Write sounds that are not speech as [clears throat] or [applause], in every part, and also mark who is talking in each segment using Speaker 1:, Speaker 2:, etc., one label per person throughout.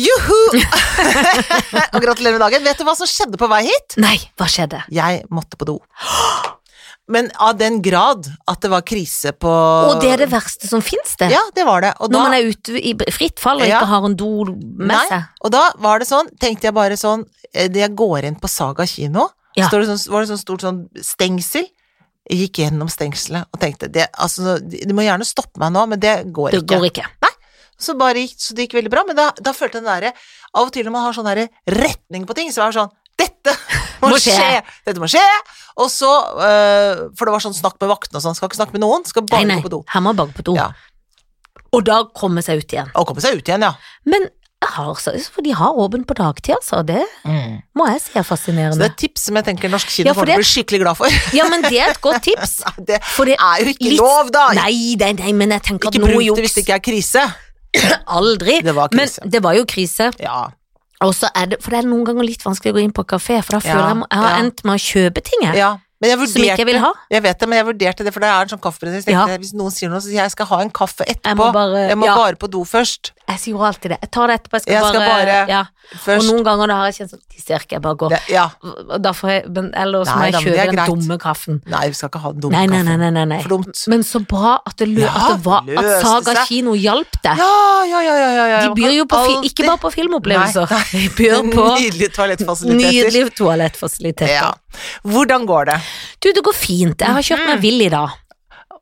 Speaker 1: Juhu! [laughs] og gratulerer med dagen. Vet du hva som skjedde på vei hit?
Speaker 2: Nei, hva skjedde?
Speaker 1: Jeg måtte på do. Men av den grad at det var krise på
Speaker 2: Og det er det verste som fins, det.
Speaker 1: Ja, det var det. Og
Speaker 2: Når
Speaker 1: da,
Speaker 2: man er ute i fritt fall og
Speaker 1: Ja.
Speaker 2: ikke har en do med
Speaker 1: nei,
Speaker 2: seg.
Speaker 1: og da var det sånn, tenkte jeg bare sånn eh, Jeg går inn på Saga kino,
Speaker 2: Ja.
Speaker 1: står det sånn, var det sånn stort sånn stengsel. Jeg gikk gjennom stengselet og tenkte det, altså, Du må gjerne stoppe meg nå, men det går
Speaker 2: Det
Speaker 1: ikke.
Speaker 2: går ikke.
Speaker 1: Så, bare gikk, så det gikk veldig bra, men da, da følte jeg den derre Av og til når man har sånn derre retning på ting, så er det sånn Dette [laughs] må,
Speaker 2: Må
Speaker 1: skje.
Speaker 2: skje.
Speaker 1: Dette må skje! Og så øh, For det var sånn snakk med vaktene og sånn, skal ikke snakke med noen, skal
Speaker 2: Nei,
Speaker 1: bare
Speaker 2: nei,
Speaker 1: gå på do.
Speaker 2: her må man bare på do.
Speaker 1: Ja.
Speaker 2: Og da komme seg ut igjen.
Speaker 1: Og komme seg ut igjen, ja.
Speaker 2: Men jeg har så, for de har åpent på dagtid, altså. Det må jeg si er
Speaker 1: Så det
Speaker 2: fascinerende.
Speaker 1: er et tips som jeg tenker norsk kino
Speaker 2: Ja, for
Speaker 1: kommer til å
Speaker 2: det-
Speaker 1: bli skikkelig glad for. [laughs]
Speaker 2: Ja, men det er et godt tips.
Speaker 1: det
Speaker 2: For
Speaker 1: [laughs]
Speaker 2: det
Speaker 1: er jo ikke
Speaker 2: litt-
Speaker 1: lov, da!
Speaker 2: Nei, nei, nei, men jeg tenker at
Speaker 1: ikke
Speaker 2: noe
Speaker 1: bruk det hvis
Speaker 2: juks
Speaker 1: det ikke er krise.
Speaker 2: aldri.
Speaker 1: Det var
Speaker 2: Men
Speaker 1: krise.
Speaker 2: det var jo krise.
Speaker 1: Ja.
Speaker 2: Og så er det, for det er noen ganger litt vanskelig å gå inn på kafé, for da
Speaker 1: Ja,
Speaker 2: føler jeg må- jeg har
Speaker 1: ja.
Speaker 2: endt med å kjøpe ting, jeg.
Speaker 1: ja. Men jeg
Speaker 2: Som ikke
Speaker 1: vurderte
Speaker 2: jeg vil ha.
Speaker 1: Jeg vet det, men jeg vurderte det, for det er en sånn kaffebrennelse.
Speaker 2: Ja.
Speaker 1: Hvis noen sier noe, så sier jeg jeg skal ha en kaffe etterpå.
Speaker 2: Jeg må bare- ja.
Speaker 1: bare på do først.
Speaker 2: Jeg sier jo alltid det. Jeg tar det etterpå, jeg skal,
Speaker 1: Jeg skal bare-
Speaker 2: ja. Og
Speaker 1: Først.
Speaker 2: noen ganger da har jeg kjent sånn De ser ikke, jeg bare går.
Speaker 1: det, ja.
Speaker 2: Og Da får jeg, men ellers må
Speaker 1: Nei,
Speaker 2: jeg
Speaker 1: da, men det
Speaker 2: kjøpe
Speaker 1: er
Speaker 2: den
Speaker 1: greit.
Speaker 2: dumme kaffen.
Speaker 1: Nei, vi skal ikke ha den dumme
Speaker 2: Nei, nei, nei,
Speaker 1: kaffen.
Speaker 2: nei, nei, nei.
Speaker 1: For dumt.
Speaker 2: Men så bra at det, lø
Speaker 1: Ja,
Speaker 2: at det var At
Speaker 1: løste
Speaker 2: Saga
Speaker 1: seg.
Speaker 2: kino hjalp deg.
Speaker 1: Ja, ja, ja, ja, ja, ja.
Speaker 2: De byr jo på fi, ikke bare på filmopplevelser, de byr
Speaker 1: [laughs]
Speaker 2: på
Speaker 1: Nydelige toalettfasiliteter.
Speaker 2: nydelige toalettfasiliteter.
Speaker 1: Ja. Hvordan går det?
Speaker 2: Du, det går fint. Jeg har kjøpt
Speaker 1: Mm.
Speaker 2: meg vill i dag.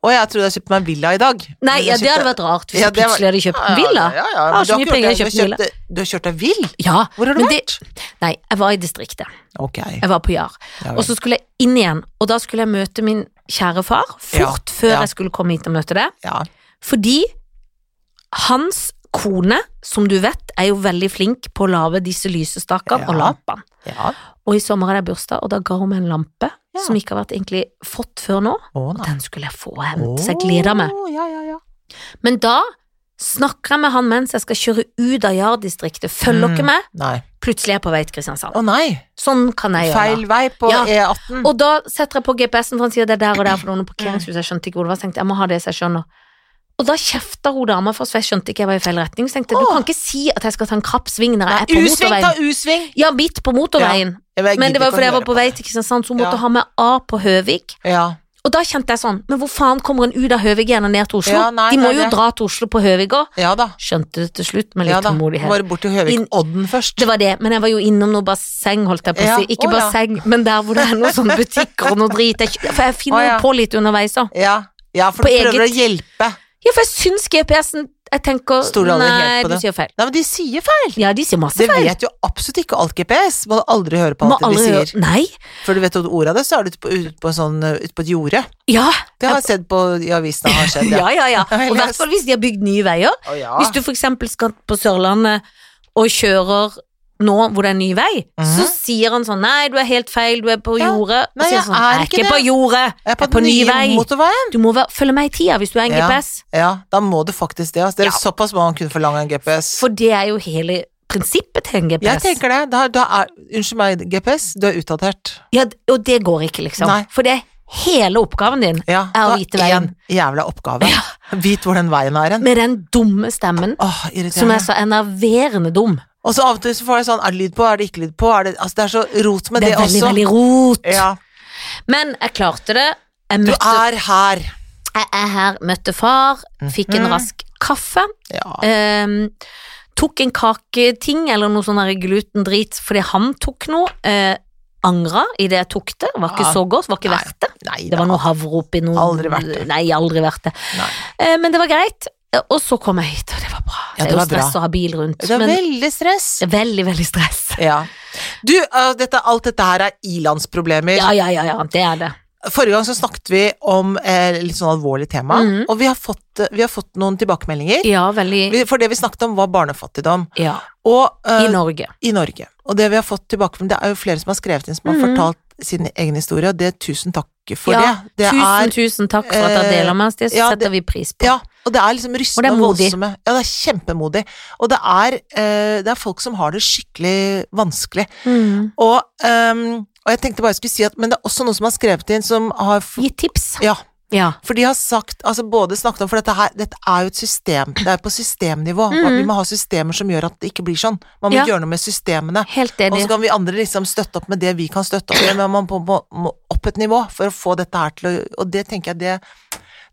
Speaker 1: Å, jeg trodde jeg kjøpte meg en villa i dag.
Speaker 2: Nei,
Speaker 1: Men
Speaker 2: ja,
Speaker 1: jeg
Speaker 2: det
Speaker 1: kjøpte-
Speaker 2: hadde vært rart
Speaker 1: Ja,
Speaker 2: hvis jeg
Speaker 1: det var-
Speaker 2: plutselig hadde kjøpt
Speaker 1: Ja,
Speaker 2: en villa.
Speaker 1: Ja, ja,
Speaker 2: Jeg
Speaker 1: men
Speaker 2: har
Speaker 1: du
Speaker 2: så
Speaker 1: har
Speaker 2: mye
Speaker 1: ikke
Speaker 2: penger,
Speaker 1: gjort
Speaker 2: jeg
Speaker 1: det.
Speaker 2: har kjøpt en villa.
Speaker 1: Du har kjøpt- Du har kjørt deg vill?
Speaker 2: Ja,
Speaker 1: Hvor har du
Speaker 2: men det- Nei, jeg var i distriktet.
Speaker 1: Ok.
Speaker 2: Jeg var på Jar.
Speaker 1: Ja, vel.
Speaker 2: Og så skulle jeg inn igjen, og da skulle jeg møte min kjære far fort
Speaker 1: Ja,
Speaker 2: før
Speaker 1: ja.
Speaker 2: jeg skulle komme hit og møte det.
Speaker 1: Ja.
Speaker 2: Fordi hans kone, som du vet, er jo veldig flink på å lage disse lysestakene og
Speaker 1: Ja.
Speaker 2: lampene.
Speaker 1: ja.
Speaker 2: Og i sommer er det bursdag, og da ga hun meg en lampe
Speaker 1: Ja.
Speaker 2: som ikke har vært egentlig fått før
Speaker 1: Å,
Speaker 2: nå. Og
Speaker 1: nei.
Speaker 2: den skulle jeg få hjem, så jeg gleder meg.
Speaker 1: Å, Ja, ja, ja.
Speaker 2: Men da snakker jeg med han mens jeg skal kjøre ut av Jar-distriktet. Følger
Speaker 1: Mm.
Speaker 2: dere med?
Speaker 1: Nei.
Speaker 2: Plutselig er jeg på vei til
Speaker 1: Å
Speaker 2: Kristiansand.
Speaker 1: nei,
Speaker 2: Sånn kan jeg gjøre.
Speaker 1: feil vei på
Speaker 2: Ja.
Speaker 1: E18.
Speaker 2: Og da setter jeg på GPS-en, for han sier det er der og der for noen parkeringshus. Jeg skjønte ikke hvor det var, så tenkte jeg, jeg må ha det så jeg skjønner. Og da kjefta hun dama for oss, for jeg skjønte ikke jeg var i feil retning. Så tenkte jeg, du
Speaker 1: Åh.
Speaker 2: kan ikke si at jeg skal ta en krapp sving når jeg er på
Speaker 1: U-sving, ta
Speaker 2: motorveien.
Speaker 1: U-sving!
Speaker 2: Ja, midt på motorveien.
Speaker 1: Jeg
Speaker 2: Men
Speaker 1: gidder
Speaker 2: det var
Speaker 1: ikke å
Speaker 2: fordi
Speaker 1: høre
Speaker 2: jeg var på vei til Kristiansand, så hun måtte
Speaker 1: Ja.
Speaker 2: ha med A på Høvik.
Speaker 1: det. Ja.
Speaker 2: Og da kjente jeg sånn, men hvor faen kommer en ut av Høvik igjen og ned til Oslo?
Speaker 1: Ja, nei,
Speaker 2: De må
Speaker 1: det er
Speaker 2: jo
Speaker 1: det.
Speaker 2: dra til Oslo på Høvik òg.
Speaker 1: ja da.
Speaker 2: Skjønte det til slutt, med litt
Speaker 1: Ja da.
Speaker 2: tålmodighet.
Speaker 1: Bare bort til Høvik
Speaker 2: Inn-
Speaker 1: Odden først.
Speaker 2: Det var det, men jeg var jo innom noe basseng, holdt jeg på å
Speaker 1: Ja,
Speaker 2: si. Ikke
Speaker 1: å ja.
Speaker 2: basseng, men der hvor det er noen sånne butikker og noe drit. Jeg, for jeg finner
Speaker 1: Å ja.
Speaker 2: jo på litt underveis òg.
Speaker 1: Ja. ja, for
Speaker 2: På
Speaker 1: du prøver
Speaker 2: eget-
Speaker 1: å hjelpe.
Speaker 2: Ja, for jeg syns GPS-en Jeg tenker
Speaker 1: Stoler aldri helt
Speaker 2: Nei,
Speaker 1: på
Speaker 2: du
Speaker 1: det.
Speaker 2: sier feil.
Speaker 1: Nei, men de sier feil!
Speaker 2: Ja, de sier masse
Speaker 1: Det
Speaker 2: feil.
Speaker 1: vet jo absolutt ikke alt GPS. Må aldri høre på
Speaker 2: Må
Speaker 1: alt det de
Speaker 2: aldri
Speaker 1: sier.
Speaker 2: gjøre- Nei.
Speaker 1: Før du vet ordet av det, så er du ute på, ut på, sånn, eh, ut på et jorde.
Speaker 2: Ja.
Speaker 1: Det har jeg sett på i avisene. Har skjedd,
Speaker 2: [laughs] Ja,
Speaker 1: [laughs]
Speaker 2: ja, ja.
Speaker 1: har jeg
Speaker 2: Og i hvert fall hvis de har bygd nye veier.
Speaker 1: Å, ja.
Speaker 2: Hvis du for eksempel skal på Sørlandet og kjører nå hvor det er ny vei, så sier han sånn Nei, du er helt feil, du er på
Speaker 1: Mhm. Ja.
Speaker 2: jordet. Og
Speaker 1: Nei,
Speaker 2: så sier
Speaker 1: jeg
Speaker 2: han sånn, jeg er ikke på
Speaker 1: det.
Speaker 2: jordet,
Speaker 1: jeg er på, den nye motorveien.
Speaker 2: Du må være, følge med i tida hvis du er en
Speaker 1: Ja.
Speaker 2: GPS.
Speaker 1: Ja, da må du faktisk det. Altså. Det er
Speaker 2: Ja.
Speaker 1: såpass må man kunne forlange en GPS.
Speaker 2: For det er jo hele prinsippet til en
Speaker 1: jeg
Speaker 2: GPS.
Speaker 1: tenker det. Da, da er, unnskyld meg, GPS, du er utdatert.
Speaker 2: Ja, d- og det går ikke, liksom.
Speaker 1: Nei.
Speaker 2: For det er hele oppgaven din
Speaker 1: Ja,
Speaker 2: er å vite
Speaker 1: du har
Speaker 2: veien.
Speaker 1: én jævla oppgave.
Speaker 2: Ja.
Speaker 1: Vit hvor den veien er hen.
Speaker 2: Med den dumme stemmen,
Speaker 1: Åh,
Speaker 2: som er
Speaker 1: irriterende.
Speaker 2: så enerverende dum.
Speaker 1: Og så av og til så får jeg sånn, er det lyd på, er det ikke lyd på? Er det, altså, det er så rot med
Speaker 2: det
Speaker 1: det,
Speaker 2: er veldig,
Speaker 1: også.
Speaker 2: veldig rot.
Speaker 1: Ja.
Speaker 2: Men jeg klarte det. Jeg,
Speaker 1: Du
Speaker 2: møtte,
Speaker 1: er her.
Speaker 2: jeg er her, møtte far, fikk en
Speaker 1: Mhm.
Speaker 2: rask kaffe.
Speaker 1: Ja.
Speaker 2: ehm, tok en kaketing eller noe sånn der glutendrit fordi han tok noe. Eh, angra i det jeg tok det. Var ikke
Speaker 1: Ja.
Speaker 2: så godt, var ikke
Speaker 1: Nei.
Speaker 2: verdt det.
Speaker 1: Nei,
Speaker 2: Det var noe havre oppi noe
Speaker 1: Aldri verdt det.
Speaker 2: Nei, aldri verdt det.
Speaker 1: Nei.
Speaker 2: Eh, Men det var greit. Eh, Og så kom jeg hit, og det var bra.
Speaker 1: Ja,
Speaker 2: det
Speaker 1: det
Speaker 2: er jo
Speaker 1: var bra.
Speaker 2: stress å ha bil rundt,
Speaker 1: Det er
Speaker 2: men
Speaker 1: veldig stress.
Speaker 2: det er veldig, veldig stress.
Speaker 1: Ja. Du, øh, dette, alt dette her er ilandsproblemer.
Speaker 2: Ja, ja, ja, ja, det er det.
Speaker 1: Forrige gang så snakket vi om eh, litt sånn alvorlig tema,
Speaker 2: Mhm.
Speaker 1: og vi har fått, eh, vi har fått noen tilbakemeldinger.
Speaker 2: Ja, veldig
Speaker 1: Vi- For det vi snakket om, var barnefattigdom.
Speaker 2: Ja,
Speaker 1: Og
Speaker 2: i
Speaker 1: øh,
Speaker 2: Norge.
Speaker 1: i Norge. Og det vi har fått tilbake det er jo flere som har skrevet inn, som har
Speaker 2: Mhm.
Speaker 1: fortalt sin egen historie, og det tusen takk for
Speaker 2: Ja,
Speaker 1: det. det
Speaker 2: tusen,
Speaker 1: er,
Speaker 2: tusen takk for at dere deler med oss, det
Speaker 1: ja,
Speaker 2: setter vi pris på.
Speaker 1: ja, og det er liksom rystende
Speaker 2: Og
Speaker 1: og,
Speaker 2: det er modig.
Speaker 1: voldsomme. Ja, det er kjempemodig. Og det er, eh, det er folk som har det skikkelig vanskelig.
Speaker 2: Mm.
Speaker 1: Og, ehm, og jeg tenkte bare jeg skulle si at Men det er også noen som har skrevet inn, som har f-
Speaker 2: Gi tips.
Speaker 1: Ja.
Speaker 2: Ja.
Speaker 1: For de har sagt, altså både snakket om, for dette, her, dette er jo et system, det er på systemnivå.
Speaker 2: Mhm.
Speaker 1: at Vi må ha systemer som gjør at det ikke blir sånn. Man må
Speaker 2: Ja.
Speaker 1: gjøre noe med systemene.
Speaker 2: Helt
Speaker 1: Og
Speaker 2: enig.
Speaker 1: så kan vi andre liksom støtte opp med det vi kan støtte opp med, men man må, må, må opp et nivå for å få dette her til å Og det tenker jeg det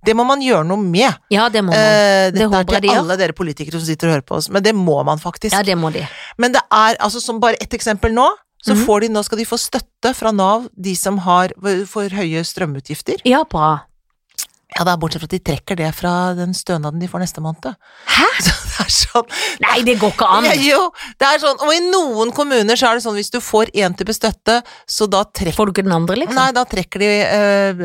Speaker 1: Det må man gjøre noe med.
Speaker 2: Ja, det må man.
Speaker 1: Eh,
Speaker 2: Det
Speaker 1: dette
Speaker 2: håper
Speaker 1: er
Speaker 2: jeg de
Speaker 1: til
Speaker 2: gjør.
Speaker 1: alle dere politikere som sitter og hører på oss, men det må man faktisk.
Speaker 2: Ja, det må de.
Speaker 1: Men det er altså som bare ett eksempel nå, så
Speaker 2: Mhm.
Speaker 1: får de nå skal de få støtte fra Nav, de som har for høye strømutgifter.
Speaker 2: Ja, bra.
Speaker 1: Ja, det er bortsett fra at de trekker det fra den stønaden de får neste måned.
Speaker 2: Hæ?
Speaker 1: [laughs] Så det er sånn
Speaker 2: Nei, det går ikke an.
Speaker 1: Ja, Jo, det er sånn, og i noen kommuner så er det sånn hvis du får én type støtte, så da trekker
Speaker 2: Får du ikke den andre, liksom?
Speaker 1: Nei, da trekker, de,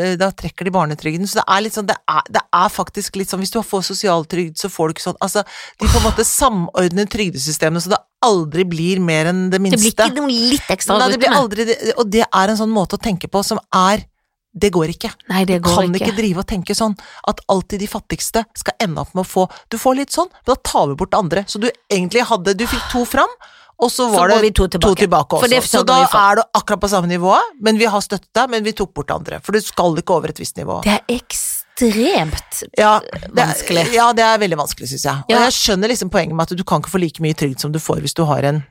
Speaker 1: eh, da trekker de barnetrygden. Så det er litt sånn, det er, det er faktisk litt sånn Hvis du får sosialtrygd, så får du ikke sånn Altså, de på en måte samordner trygdesystemene så det aldri blir mer enn det
Speaker 2: Det
Speaker 1: minste.
Speaker 2: blir ikke noe litt ekstra
Speaker 1: Nei,
Speaker 2: å
Speaker 1: det
Speaker 2: rutte
Speaker 1: blir
Speaker 2: med.
Speaker 1: aldri det. Og det er en sånn måte å tenke på som er Det går ikke.
Speaker 2: Nei, det går
Speaker 1: kan ikke.
Speaker 2: ikke.
Speaker 1: drive og tenke sånn at alltid de fattigste skal ende opp med å få Du får litt sånn, men da tar vi bort det andre. Så du egentlig hadde Du fikk to fram, og så
Speaker 2: Så
Speaker 1: var
Speaker 2: går vi
Speaker 1: det
Speaker 2: to
Speaker 1: to
Speaker 2: tilbake.
Speaker 1: tilbake
Speaker 2: For
Speaker 1: også.
Speaker 2: det
Speaker 1: Så
Speaker 2: sørger
Speaker 1: da
Speaker 2: vi for.
Speaker 1: er du akkurat på samme nivået, men vi har støttet deg, men vi tok bort det andre. For du skal ikke over et visst nivå.
Speaker 2: Det er ekstremt
Speaker 1: ja, det er,
Speaker 2: vanskelig.
Speaker 1: Ja, det er veldig vanskelig, syns jeg. Og
Speaker 2: Ja.
Speaker 1: jeg skjønner liksom poenget med at du kan ikke få like mye trygd som du får hvis du har en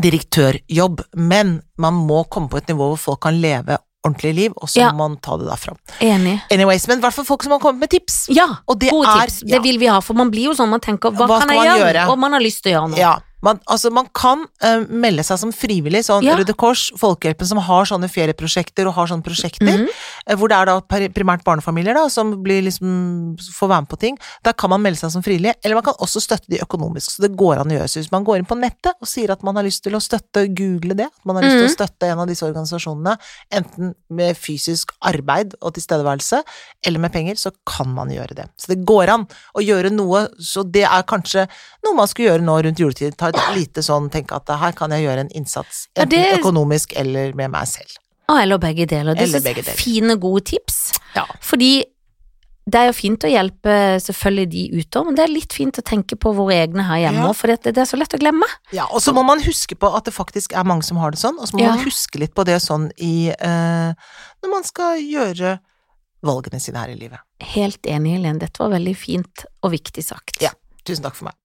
Speaker 1: direktørjobb, men man må komme på et nivå hvor folk kan leve ordentlig liv, og så
Speaker 2: Ja.
Speaker 1: må man ta det derfra.
Speaker 2: Enig.
Speaker 1: Anyways, men i hvert fall folk som har kommet med tips.
Speaker 2: Ja,
Speaker 1: Og det
Speaker 2: gode
Speaker 1: er-
Speaker 2: tips.
Speaker 1: ja.
Speaker 2: Det vil vi ha, for man blir jo sånn, man tenker hva,
Speaker 1: Hva
Speaker 2: kan
Speaker 1: skal
Speaker 2: jeg
Speaker 1: man
Speaker 2: gjøre?
Speaker 1: gjøre?
Speaker 2: Og man har lyst til å gjøre noe.
Speaker 1: Ja, man, altså man kan eh, melde seg som frivillig, sånn
Speaker 2: Ja.
Speaker 1: Røde Kors, Folkehjelpen, som har sånne ferieprosjekter og har sånne prosjekter,
Speaker 2: Mhm.
Speaker 1: eh, hvor det er da pri- primært barnefamilier da, som blir liksom, får være med på ting. Da kan man melde seg som frivillig, eller man kan også støtte de økonomisk, så det går an å gjøre. Så hvis man går inn på nettet og sier at man har lyst til å støtte, google det, at man har lyst
Speaker 2: Mhm.
Speaker 1: til å støtte en av disse organisasjonene, enten med fysisk arbeid og tilstedeværelse, eller med penger, så kan man gjøre det. Så det går an å gjøre noe, så det er kanskje noe man skulle gjøre nå rundt juletid. Ta et lite sånn, tenke at her kan jeg gjøre en innsats.
Speaker 2: Ja,
Speaker 1: Enten
Speaker 2: det-
Speaker 1: økonomisk eller med meg selv.
Speaker 2: Ah, eller begge deler. Det
Speaker 1: Eller
Speaker 2: synes
Speaker 1: begge
Speaker 2: jeg er
Speaker 1: deler.
Speaker 2: fine, gode tips.
Speaker 1: Ja.
Speaker 2: Fordi det er jo fint å hjelpe selvfølgelig de utover, men det er litt fint å tenke på våre egne her hjemme
Speaker 1: Ja.
Speaker 2: òg, for det, det er så lett å glemme.
Speaker 1: Ja, og så må man huske på at det faktisk er mange som har det sånn, og så må
Speaker 2: Ja.
Speaker 1: man huske litt på det sånn i eh, Når man skal gjøre valgene sine her i livet.
Speaker 2: Helt enig, Helene. Dette var veldig fint og viktig sagt.
Speaker 1: Ja. Tusen takk for meg.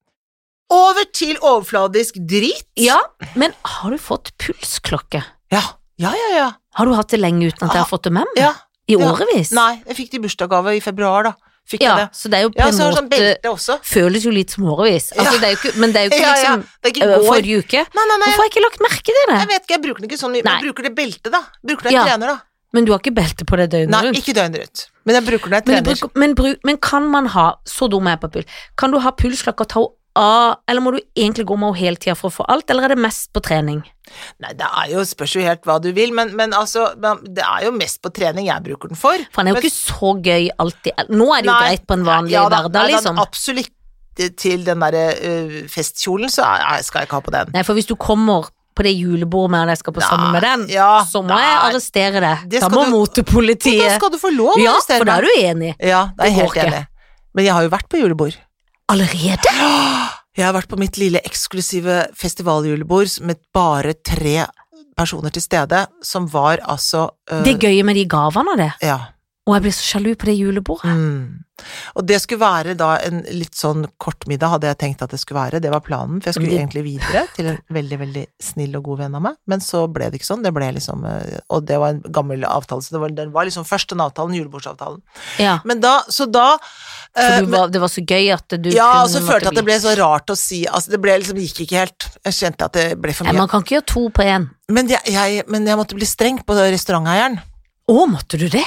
Speaker 1: Over til overfladisk drit.
Speaker 2: Ja, men har du fått pulsklokke?
Speaker 1: Ja, ja, ja. ja.
Speaker 2: Har du hatt det lenge uten at jeg har fått det med meg?
Speaker 1: Ah. ja.
Speaker 2: I
Speaker 1: ja.
Speaker 2: årevis?
Speaker 1: Nei, jeg fikk det i bursdagsgave i februar, da. Fikk
Speaker 2: ja,
Speaker 1: jeg det.
Speaker 2: så det er jo på
Speaker 1: Ja,
Speaker 2: en
Speaker 1: så har jeg sånn
Speaker 2: måte
Speaker 1: belte også.
Speaker 2: Føles jo litt som årevis. Altså,
Speaker 1: Ja.
Speaker 2: det er jo ikke, men det er jo ikke
Speaker 1: Ja, ja.
Speaker 2: liksom
Speaker 1: Det er ikke
Speaker 2: øh,
Speaker 1: i går.
Speaker 2: forrige uke.
Speaker 1: Nei, nei, nei.
Speaker 2: Hvorfor har jeg ikke lagt merke til det?
Speaker 1: Jeg vet ikke, jeg bruker den ikke sånn mye,
Speaker 2: Nei.
Speaker 1: men bruker det beltet, da. Bruker det jeg
Speaker 2: Ja.
Speaker 1: trener, da.
Speaker 2: Men du har ikke belte på det døgnet
Speaker 1: Nei,
Speaker 2: rundt?
Speaker 1: ikke døgnet rundt. Men jeg bruker den når jeg
Speaker 2: Men, du
Speaker 1: trener.
Speaker 2: bruker, men, bruk, men kan man ha Så dum er jeg på puls. Kan du ha pulsklokka og ta henne av, eller må du egentlig gå med henne hele tida for å få alt, eller er det mest på trening?
Speaker 1: Nei, det er jo, spørs jo helt hva du vil, men, men altså, men det er jo mest på trening jeg bruker den for.
Speaker 2: For den er jo
Speaker 1: Men-
Speaker 2: ikke så gøy alltid. Nå er det jo
Speaker 1: Nei,
Speaker 2: greit på en vanlig
Speaker 1: Ja da,
Speaker 2: hverdag,
Speaker 1: nei, da,
Speaker 2: liksom.
Speaker 1: Absolutt til den derre øh, festkjolen, så er, skal jeg ikke ha på den.
Speaker 2: Nei, for hvis du kommer på det julebordet med at jeg skal på sammen med den,
Speaker 1: ja,
Speaker 2: så må
Speaker 1: nei.
Speaker 2: jeg arrestere deg.
Speaker 1: Det
Speaker 2: Da
Speaker 1: skal
Speaker 2: må
Speaker 1: du- Men Da
Speaker 2: motepolitiet
Speaker 1: skal du få lov å
Speaker 2: Ja,
Speaker 1: arrestere
Speaker 2: for da
Speaker 1: meg.
Speaker 2: er du enig.
Speaker 1: Ja, da er jeg
Speaker 2: Det går
Speaker 1: helt enig. Men jeg har jo vært på julebord.
Speaker 2: Allerede?
Speaker 1: Jeg har vært på mitt lille eksklusive festivaljulebord med bare tre personer til stede, som var altså øh,
Speaker 2: Det gøye med de gavene og det.
Speaker 1: Ja.
Speaker 2: Og jeg blir så sjalu på det julebordet.
Speaker 1: Mm. Og det skulle være da en litt sånn kort middag, hadde jeg tenkt at det skulle være. Det var planen, for jeg skulle
Speaker 2: Men det-
Speaker 1: egentlig videre til en veldig, veldig snill og god venn av meg. Men så ble det ikke sånn. Det ble liksom eh, Og det var en gammel avtale, så det var, den var liksom først den avtalen, julebordsavtalen.
Speaker 2: Ja,
Speaker 1: Men da, så da eh,
Speaker 2: for du var, det var så gøy at du
Speaker 1: ja, og så
Speaker 2: måtte
Speaker 1: følte jeg at det ble
Speaker 2: bli-
Speaker 1: så rart å si Altså, det ble liksom gikk ikke helt. Jeg kjente at det ble for
Speaker 2: Nei,
Speaker 1: mye.
Speaker 2: Man kan ikke gjøre to på én.
Speaker 1: Men jeg, jeg, men jeg måtte bli streng på restauranteieren.
Speaker 2: Å, måtte du det?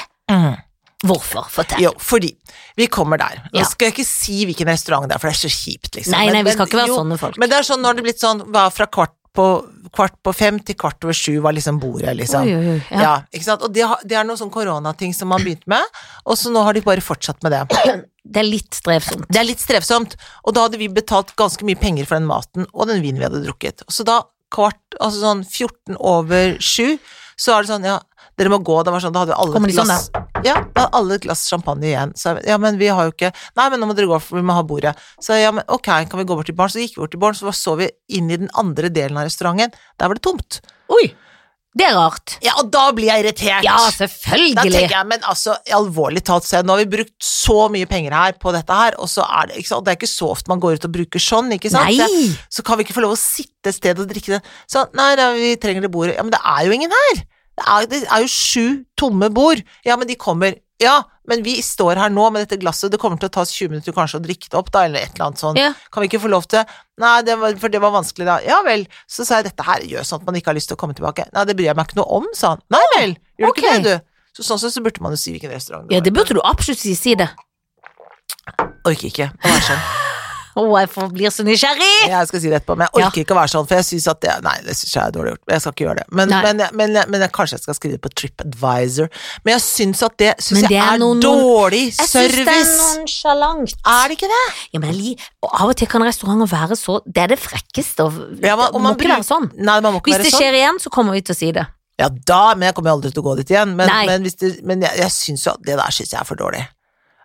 Speaker 2: Hvorfor? Fortell.
Speaker 1: Jo, fordi vi kommer der. Nå
Speaker 2: Ja.
Speaker 1: skal jeg ikke si hvilken restaurant det er, for det er så kjipt, liksom.
Speaker 2: Nei,
Speaker 1: Men-
Speaker 2: nei, vi skal
Speaker 1: men-
Speaker 2: ikke være
Speaker 1: jo,
Speaker 2: sånne folk.
Speaker 1: Men det er sånn, nå har det blitt sånn, var fra kvart på, kvart på fem til kvart over sju var liksom bordet, liksom.
Speaker 2: Oi, oi, oi.
Speaker 1: Ja.
Speaker 2: Ja.
Speaker 1: ikke sant? Og det, har- det er noen sånn koronating som man begynte med, og så nå har de bare fortsatt med det.
Speaker 2: Det er litt strevsomt.
Speaker 1: Det er litt strevsomt, og da hadde vi betalt ganske mye penger for den maten og den vinen vi hadde drukket. Så da kvart, altså sånn 14 over sju, så er det sånn, ja, dere må gå. Det var sånn, da hadde vi alle
Speaker 2: Kommer
Speaker 1: et
Speaker 2: de sånn,
Speaker 1: glass. Ja, da hadde alle et glass champagne igjen. Så jeg, ja, men vi har jo ikke Nei, men nå må dere gå, for vi må ha bordet. Så jeg, ja, men ok, kan vi gå bort til baren? Så gikk vi bort til baren, så så vi inn i den andre delen av restauranten. Der var det tomt.
Speaker 2: Oi! Det er rart.
Speaker 1: Ja, og da blir jeg irritert!
Speaker 2: Ja,
Speaker 1: da
Speaker 2: selvfølgelig.
Speaker 1: tenker jeg, men altså, alvorlig talt, se, nå har vi brukt så mye penger her på dette her, og så er det ikke sant, det er ikke så ofte man går ut og bruker sånn, ikke sant?
Speaker 2: Nei!
Speaker 1: Så, så kan vi ikke få lov å sitte et sted og drikke det. Så nei, nei, vi trenger det bordet. Ja, men det er jo ingen her! Det er, det er jo sju tomme bord. Ja, men de kommer. Ja, men vi står her nå med dette glasset, det kommer til å ta oss 20 minutter kanskje å drikke det opp, da, eller et eller annet sånt.
Speaker 2: Ja.
Speaker 1: Kan vi ikke få lov til Nei, det var, for det var vanskelig da. Ja vel. Så sa jeg dette her gjør sånn at man ikke har lyst til å komme tilbake. Nei, det bryr jeg meg ikke noe om, sa han. Nei vel, gjør du ikke det,
Speaker 2: ok.
Speaker 1: du? Så sånn sett så burde man jo si hvilken restaurant
Speaker 2: ja, det
Speaker 1: var.
Speaker 2: burde du absolutt si. Si det.
Speaker 1: Orker ikke å være
Speaker 2: [laughs]
Speaker 1: sånn.
Speaker 2: Å, jeg får, blir så nysgjerrig!
Speaker 1: Jeg skal si det etterpå, men jeg orker ikke å være sånn, for jeg syns at det Nei, det syns jeg er dårlig gjort. Jeg skal ikke gjøre det. Men,
Speaker 2: Nei.
Speaker 1: men, men, men jeg, kanskje jeg skal skrive det på TripAdvisor. Men jeg syns at det
Speaker 2: Men
Speaker 1: synes
Speaker 2: det
Speaker 1: jeg
Speaker 2: er
Speaker 1: er
Speaker 2: noen-
Speaker 1: dårlig
Speaker 2: Jeg syns det er
Speaker 1: service. Ah.
Speaker 2: nonsjalant.
Speaker 1: Er det ikke det?
Speaker 2: Ja, men jeg lik- og Av og til kan restauranter være så Det er det frekkeste. Og,
Speaker 1: Ja, man- og
Speaker 2: det må
Speaker 1: man
Speaker 2: ikke være sånn.
Speaker 1: Nei, man må ikke
Speaker 2: Hvis
Speaker 1: være
Speaker 2: det
Speaker 1: sånn.
Speaker 2: skjer igjen, så kommer vi til å si det.
Speaker 1: Ja da, men jeg kommer jo aldri til å gå dit igjen. Men,
Speaker 2: Nei.
Speaker 1: men, hvis det, men jeg, jeg syns jo at det der syns jeg er for dårlig.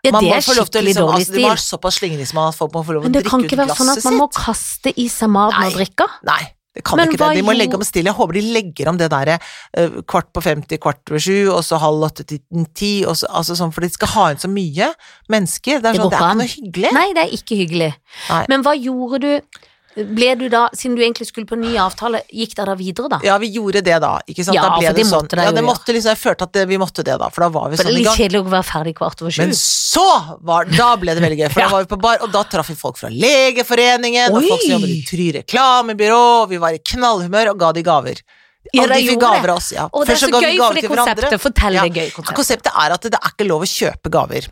Speaker 2: Ja,
Speaker 1: Man må
Speaker 2: det er
Speaker 1: få lov til å
Speaker 2: skikkelig
Speaker 1: liksom,
Speaker 2: dårlig
Speaker 1: altså, Det var
Speaker 2: stil.
Speaker 1: såpass slingring som at folk må få lov å
Speaker 2: Men det
Speaker 1: drikke
Speaker 2: kan
Speaker 1: ut
Speaker 2: ikke være
Speaker 1: glasset
Speaker 2: sånn at man må
Speaker 1: sitt.
Speaker 2: kaste i seg maten
Speaker 1: Nei.
Speaker 2: og drikka.
Speaker 1: Nei, det kan
Speaker 2: Men
Speaker 1: ikke det.
Speaker 2: hva
Speaker 1: De må
Speaker 2: gjorde-
Speaker 1: legge om stil. Jeg håper de legger om det der eh, kvart på fem til kvart over sju, og så halv åtte til ti, og så, altså sånn, for de skal ha inn så mye mennesker. Det er,
Speaker 2: Det
Speaker 1: sånn,
Speaker 2: går
Speaker 1: det er
Speaker 2: ikke
Speaker 1: ikke
Speaker 2: an.
Speaker 1: noe hyggelig.
Speaker 2: Nei, det er ikke hyggelig.
Speaker 1: Nei.
Speaker 2: Men hva gjorde du? Ble du da, siden du egentlig skulle på ny avtale, gikk dere da videre, da?
Speaker 1: Ja, vi gjorde det da, ikke sant.
Speaker 2: Ja,
Speaker 1: da ble
Speaker 2: for de
Speaker 1: det sånn.
Speaker 2: måtte det
Speaker 1: ja,
Speaker 2: jo
Speaker 1: det
Speaker 2: gjøre.
Speaker 1: måtte liksom, jeg følte at det, vi måtte det da, for da var vi
Speaker 2: For
Speaker 1: sånn
Speaker 2: det er
Speaker 1: i
Speaker 2: litt
Speaker 1: gang.
Speaker 2: kjedelig å være ferdig kvart over sju.
Speaker 1: Men så var Da ble det veldig gøy, for
Speaker 2: [laughs] Ja.
Speaker 1: da var vi på bar, og da traff vi folk fra Legeforeningen, og
Speaker 2: Oi.
Speaker 1: folk som jobber i Try reklamebyrå, og vi var i knallhumør og ga de gaver.
Speaker 2: Ja,
Speaker 1: Og
Speaker 2: de
Speaker 1: de fikk
Speaker 2: gjorde
Speaker 1: gaver av
Speaker 2: det.
Speaker 1: oss, ja.
Speaker 2: Og
Speaker 1: Først
Speaker 2: det er så
Speaker 1: ga vi
Speaker 2: gøy
Speaker 1: gaver
Speaker 2: for det
Speaker 1: til hverandre.
Speaker 2: konseptet. Fortell
Speaker 1: Ja.
Speaker 2: det gøy konseptet.
Speaker 1: Konseptet er at det er ikke lov å kjøpe gaver.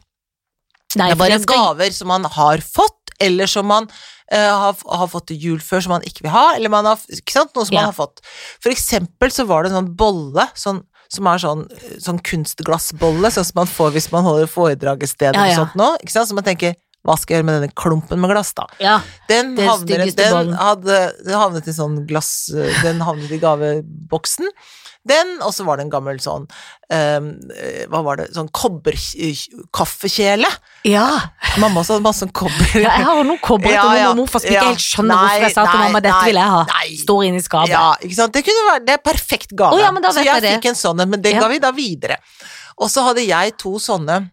Speaker 1: det
Speaker 2: Nei,
Speaker 1: er
Speaker 2: for
Speaker 1: bare
Speaker 2: det skal-
Speaker 1: gaver som man har fått, eller som man eh, har, har fått til jul før som man ikke vil ha, eller man har, ikke sant? noe som
Speaker 2: Ja.
Speaker 1: man har fått. For eksempel så var det en sånn bolle, sånn, som er sånn, eh, sånn kunstglassbolle, sånn som man får hvis man holder foredrag et sted
Speaker 2: Ja,
Speaker 1: eller
Speaker 2: ja.
Speaker 1: sånt nå, ikke sant? Så man tenker, hva skal jeg gjøre med denne klumpen med glass da?
Speaker 2: Ja.
Speaker 1: Den,
Speaker 2: Den
Speaker 1: havner,
Speaker 2: styggeste
Speaker 1: den,
Speaker 2: ballen.
Speaker 1: hadde, den havnet i sånn glass eh, Den havnet i gaveboksen. Den, og så var det en gammel sånn eh, Hva var det? Sånn kobberkaffekjele.
Speaker 2: ja.
Speaker 1: Mamma også hadde masse sånn kobber.
Speaker 2: Ja, [laughs] jeg har noe kobberet
Speaker 1: Ja,
Speaker 2: og
Speaker 1: ja.
Speaker 2: noe morfar som ikke
Speaker 1: Ja.
Speaker 2: helt skjønner
Speaker 1: Nei,
Speaker 2: hvorfor jeg sa til
Speaker 1: nei,
Speaker 2: mamma dette
Speaker 1: nei,
Speaker 2: vil jeg ha.
Speaker 1: nei.
Speaker 2: Står inne i skapet.
Speaker 1: Ja, ikke sant? Det, kunne være, det er perfekt gave.
Speaker 2: Å, ja, men da
Speaker 1: så
Speaker 2: vet
Speaker 1: jeg
Speaker 2: jeg det.
Speaker 1: fikk en sånn en, men den
Speaker 2: Ja.
Speaker 1: ga vi da videre. Og så hadde jeg to sånne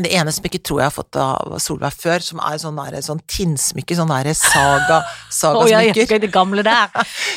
Speaker 1: det ene som jeg ikke tror jeg har fått av Solveig før, som er sånn, der, sånn tinnsmykke, sånn derre saga,
Speaker 2: Å, ja, ja,
Speaker 1: sagasmykker.
Speaker 2: det gamle der.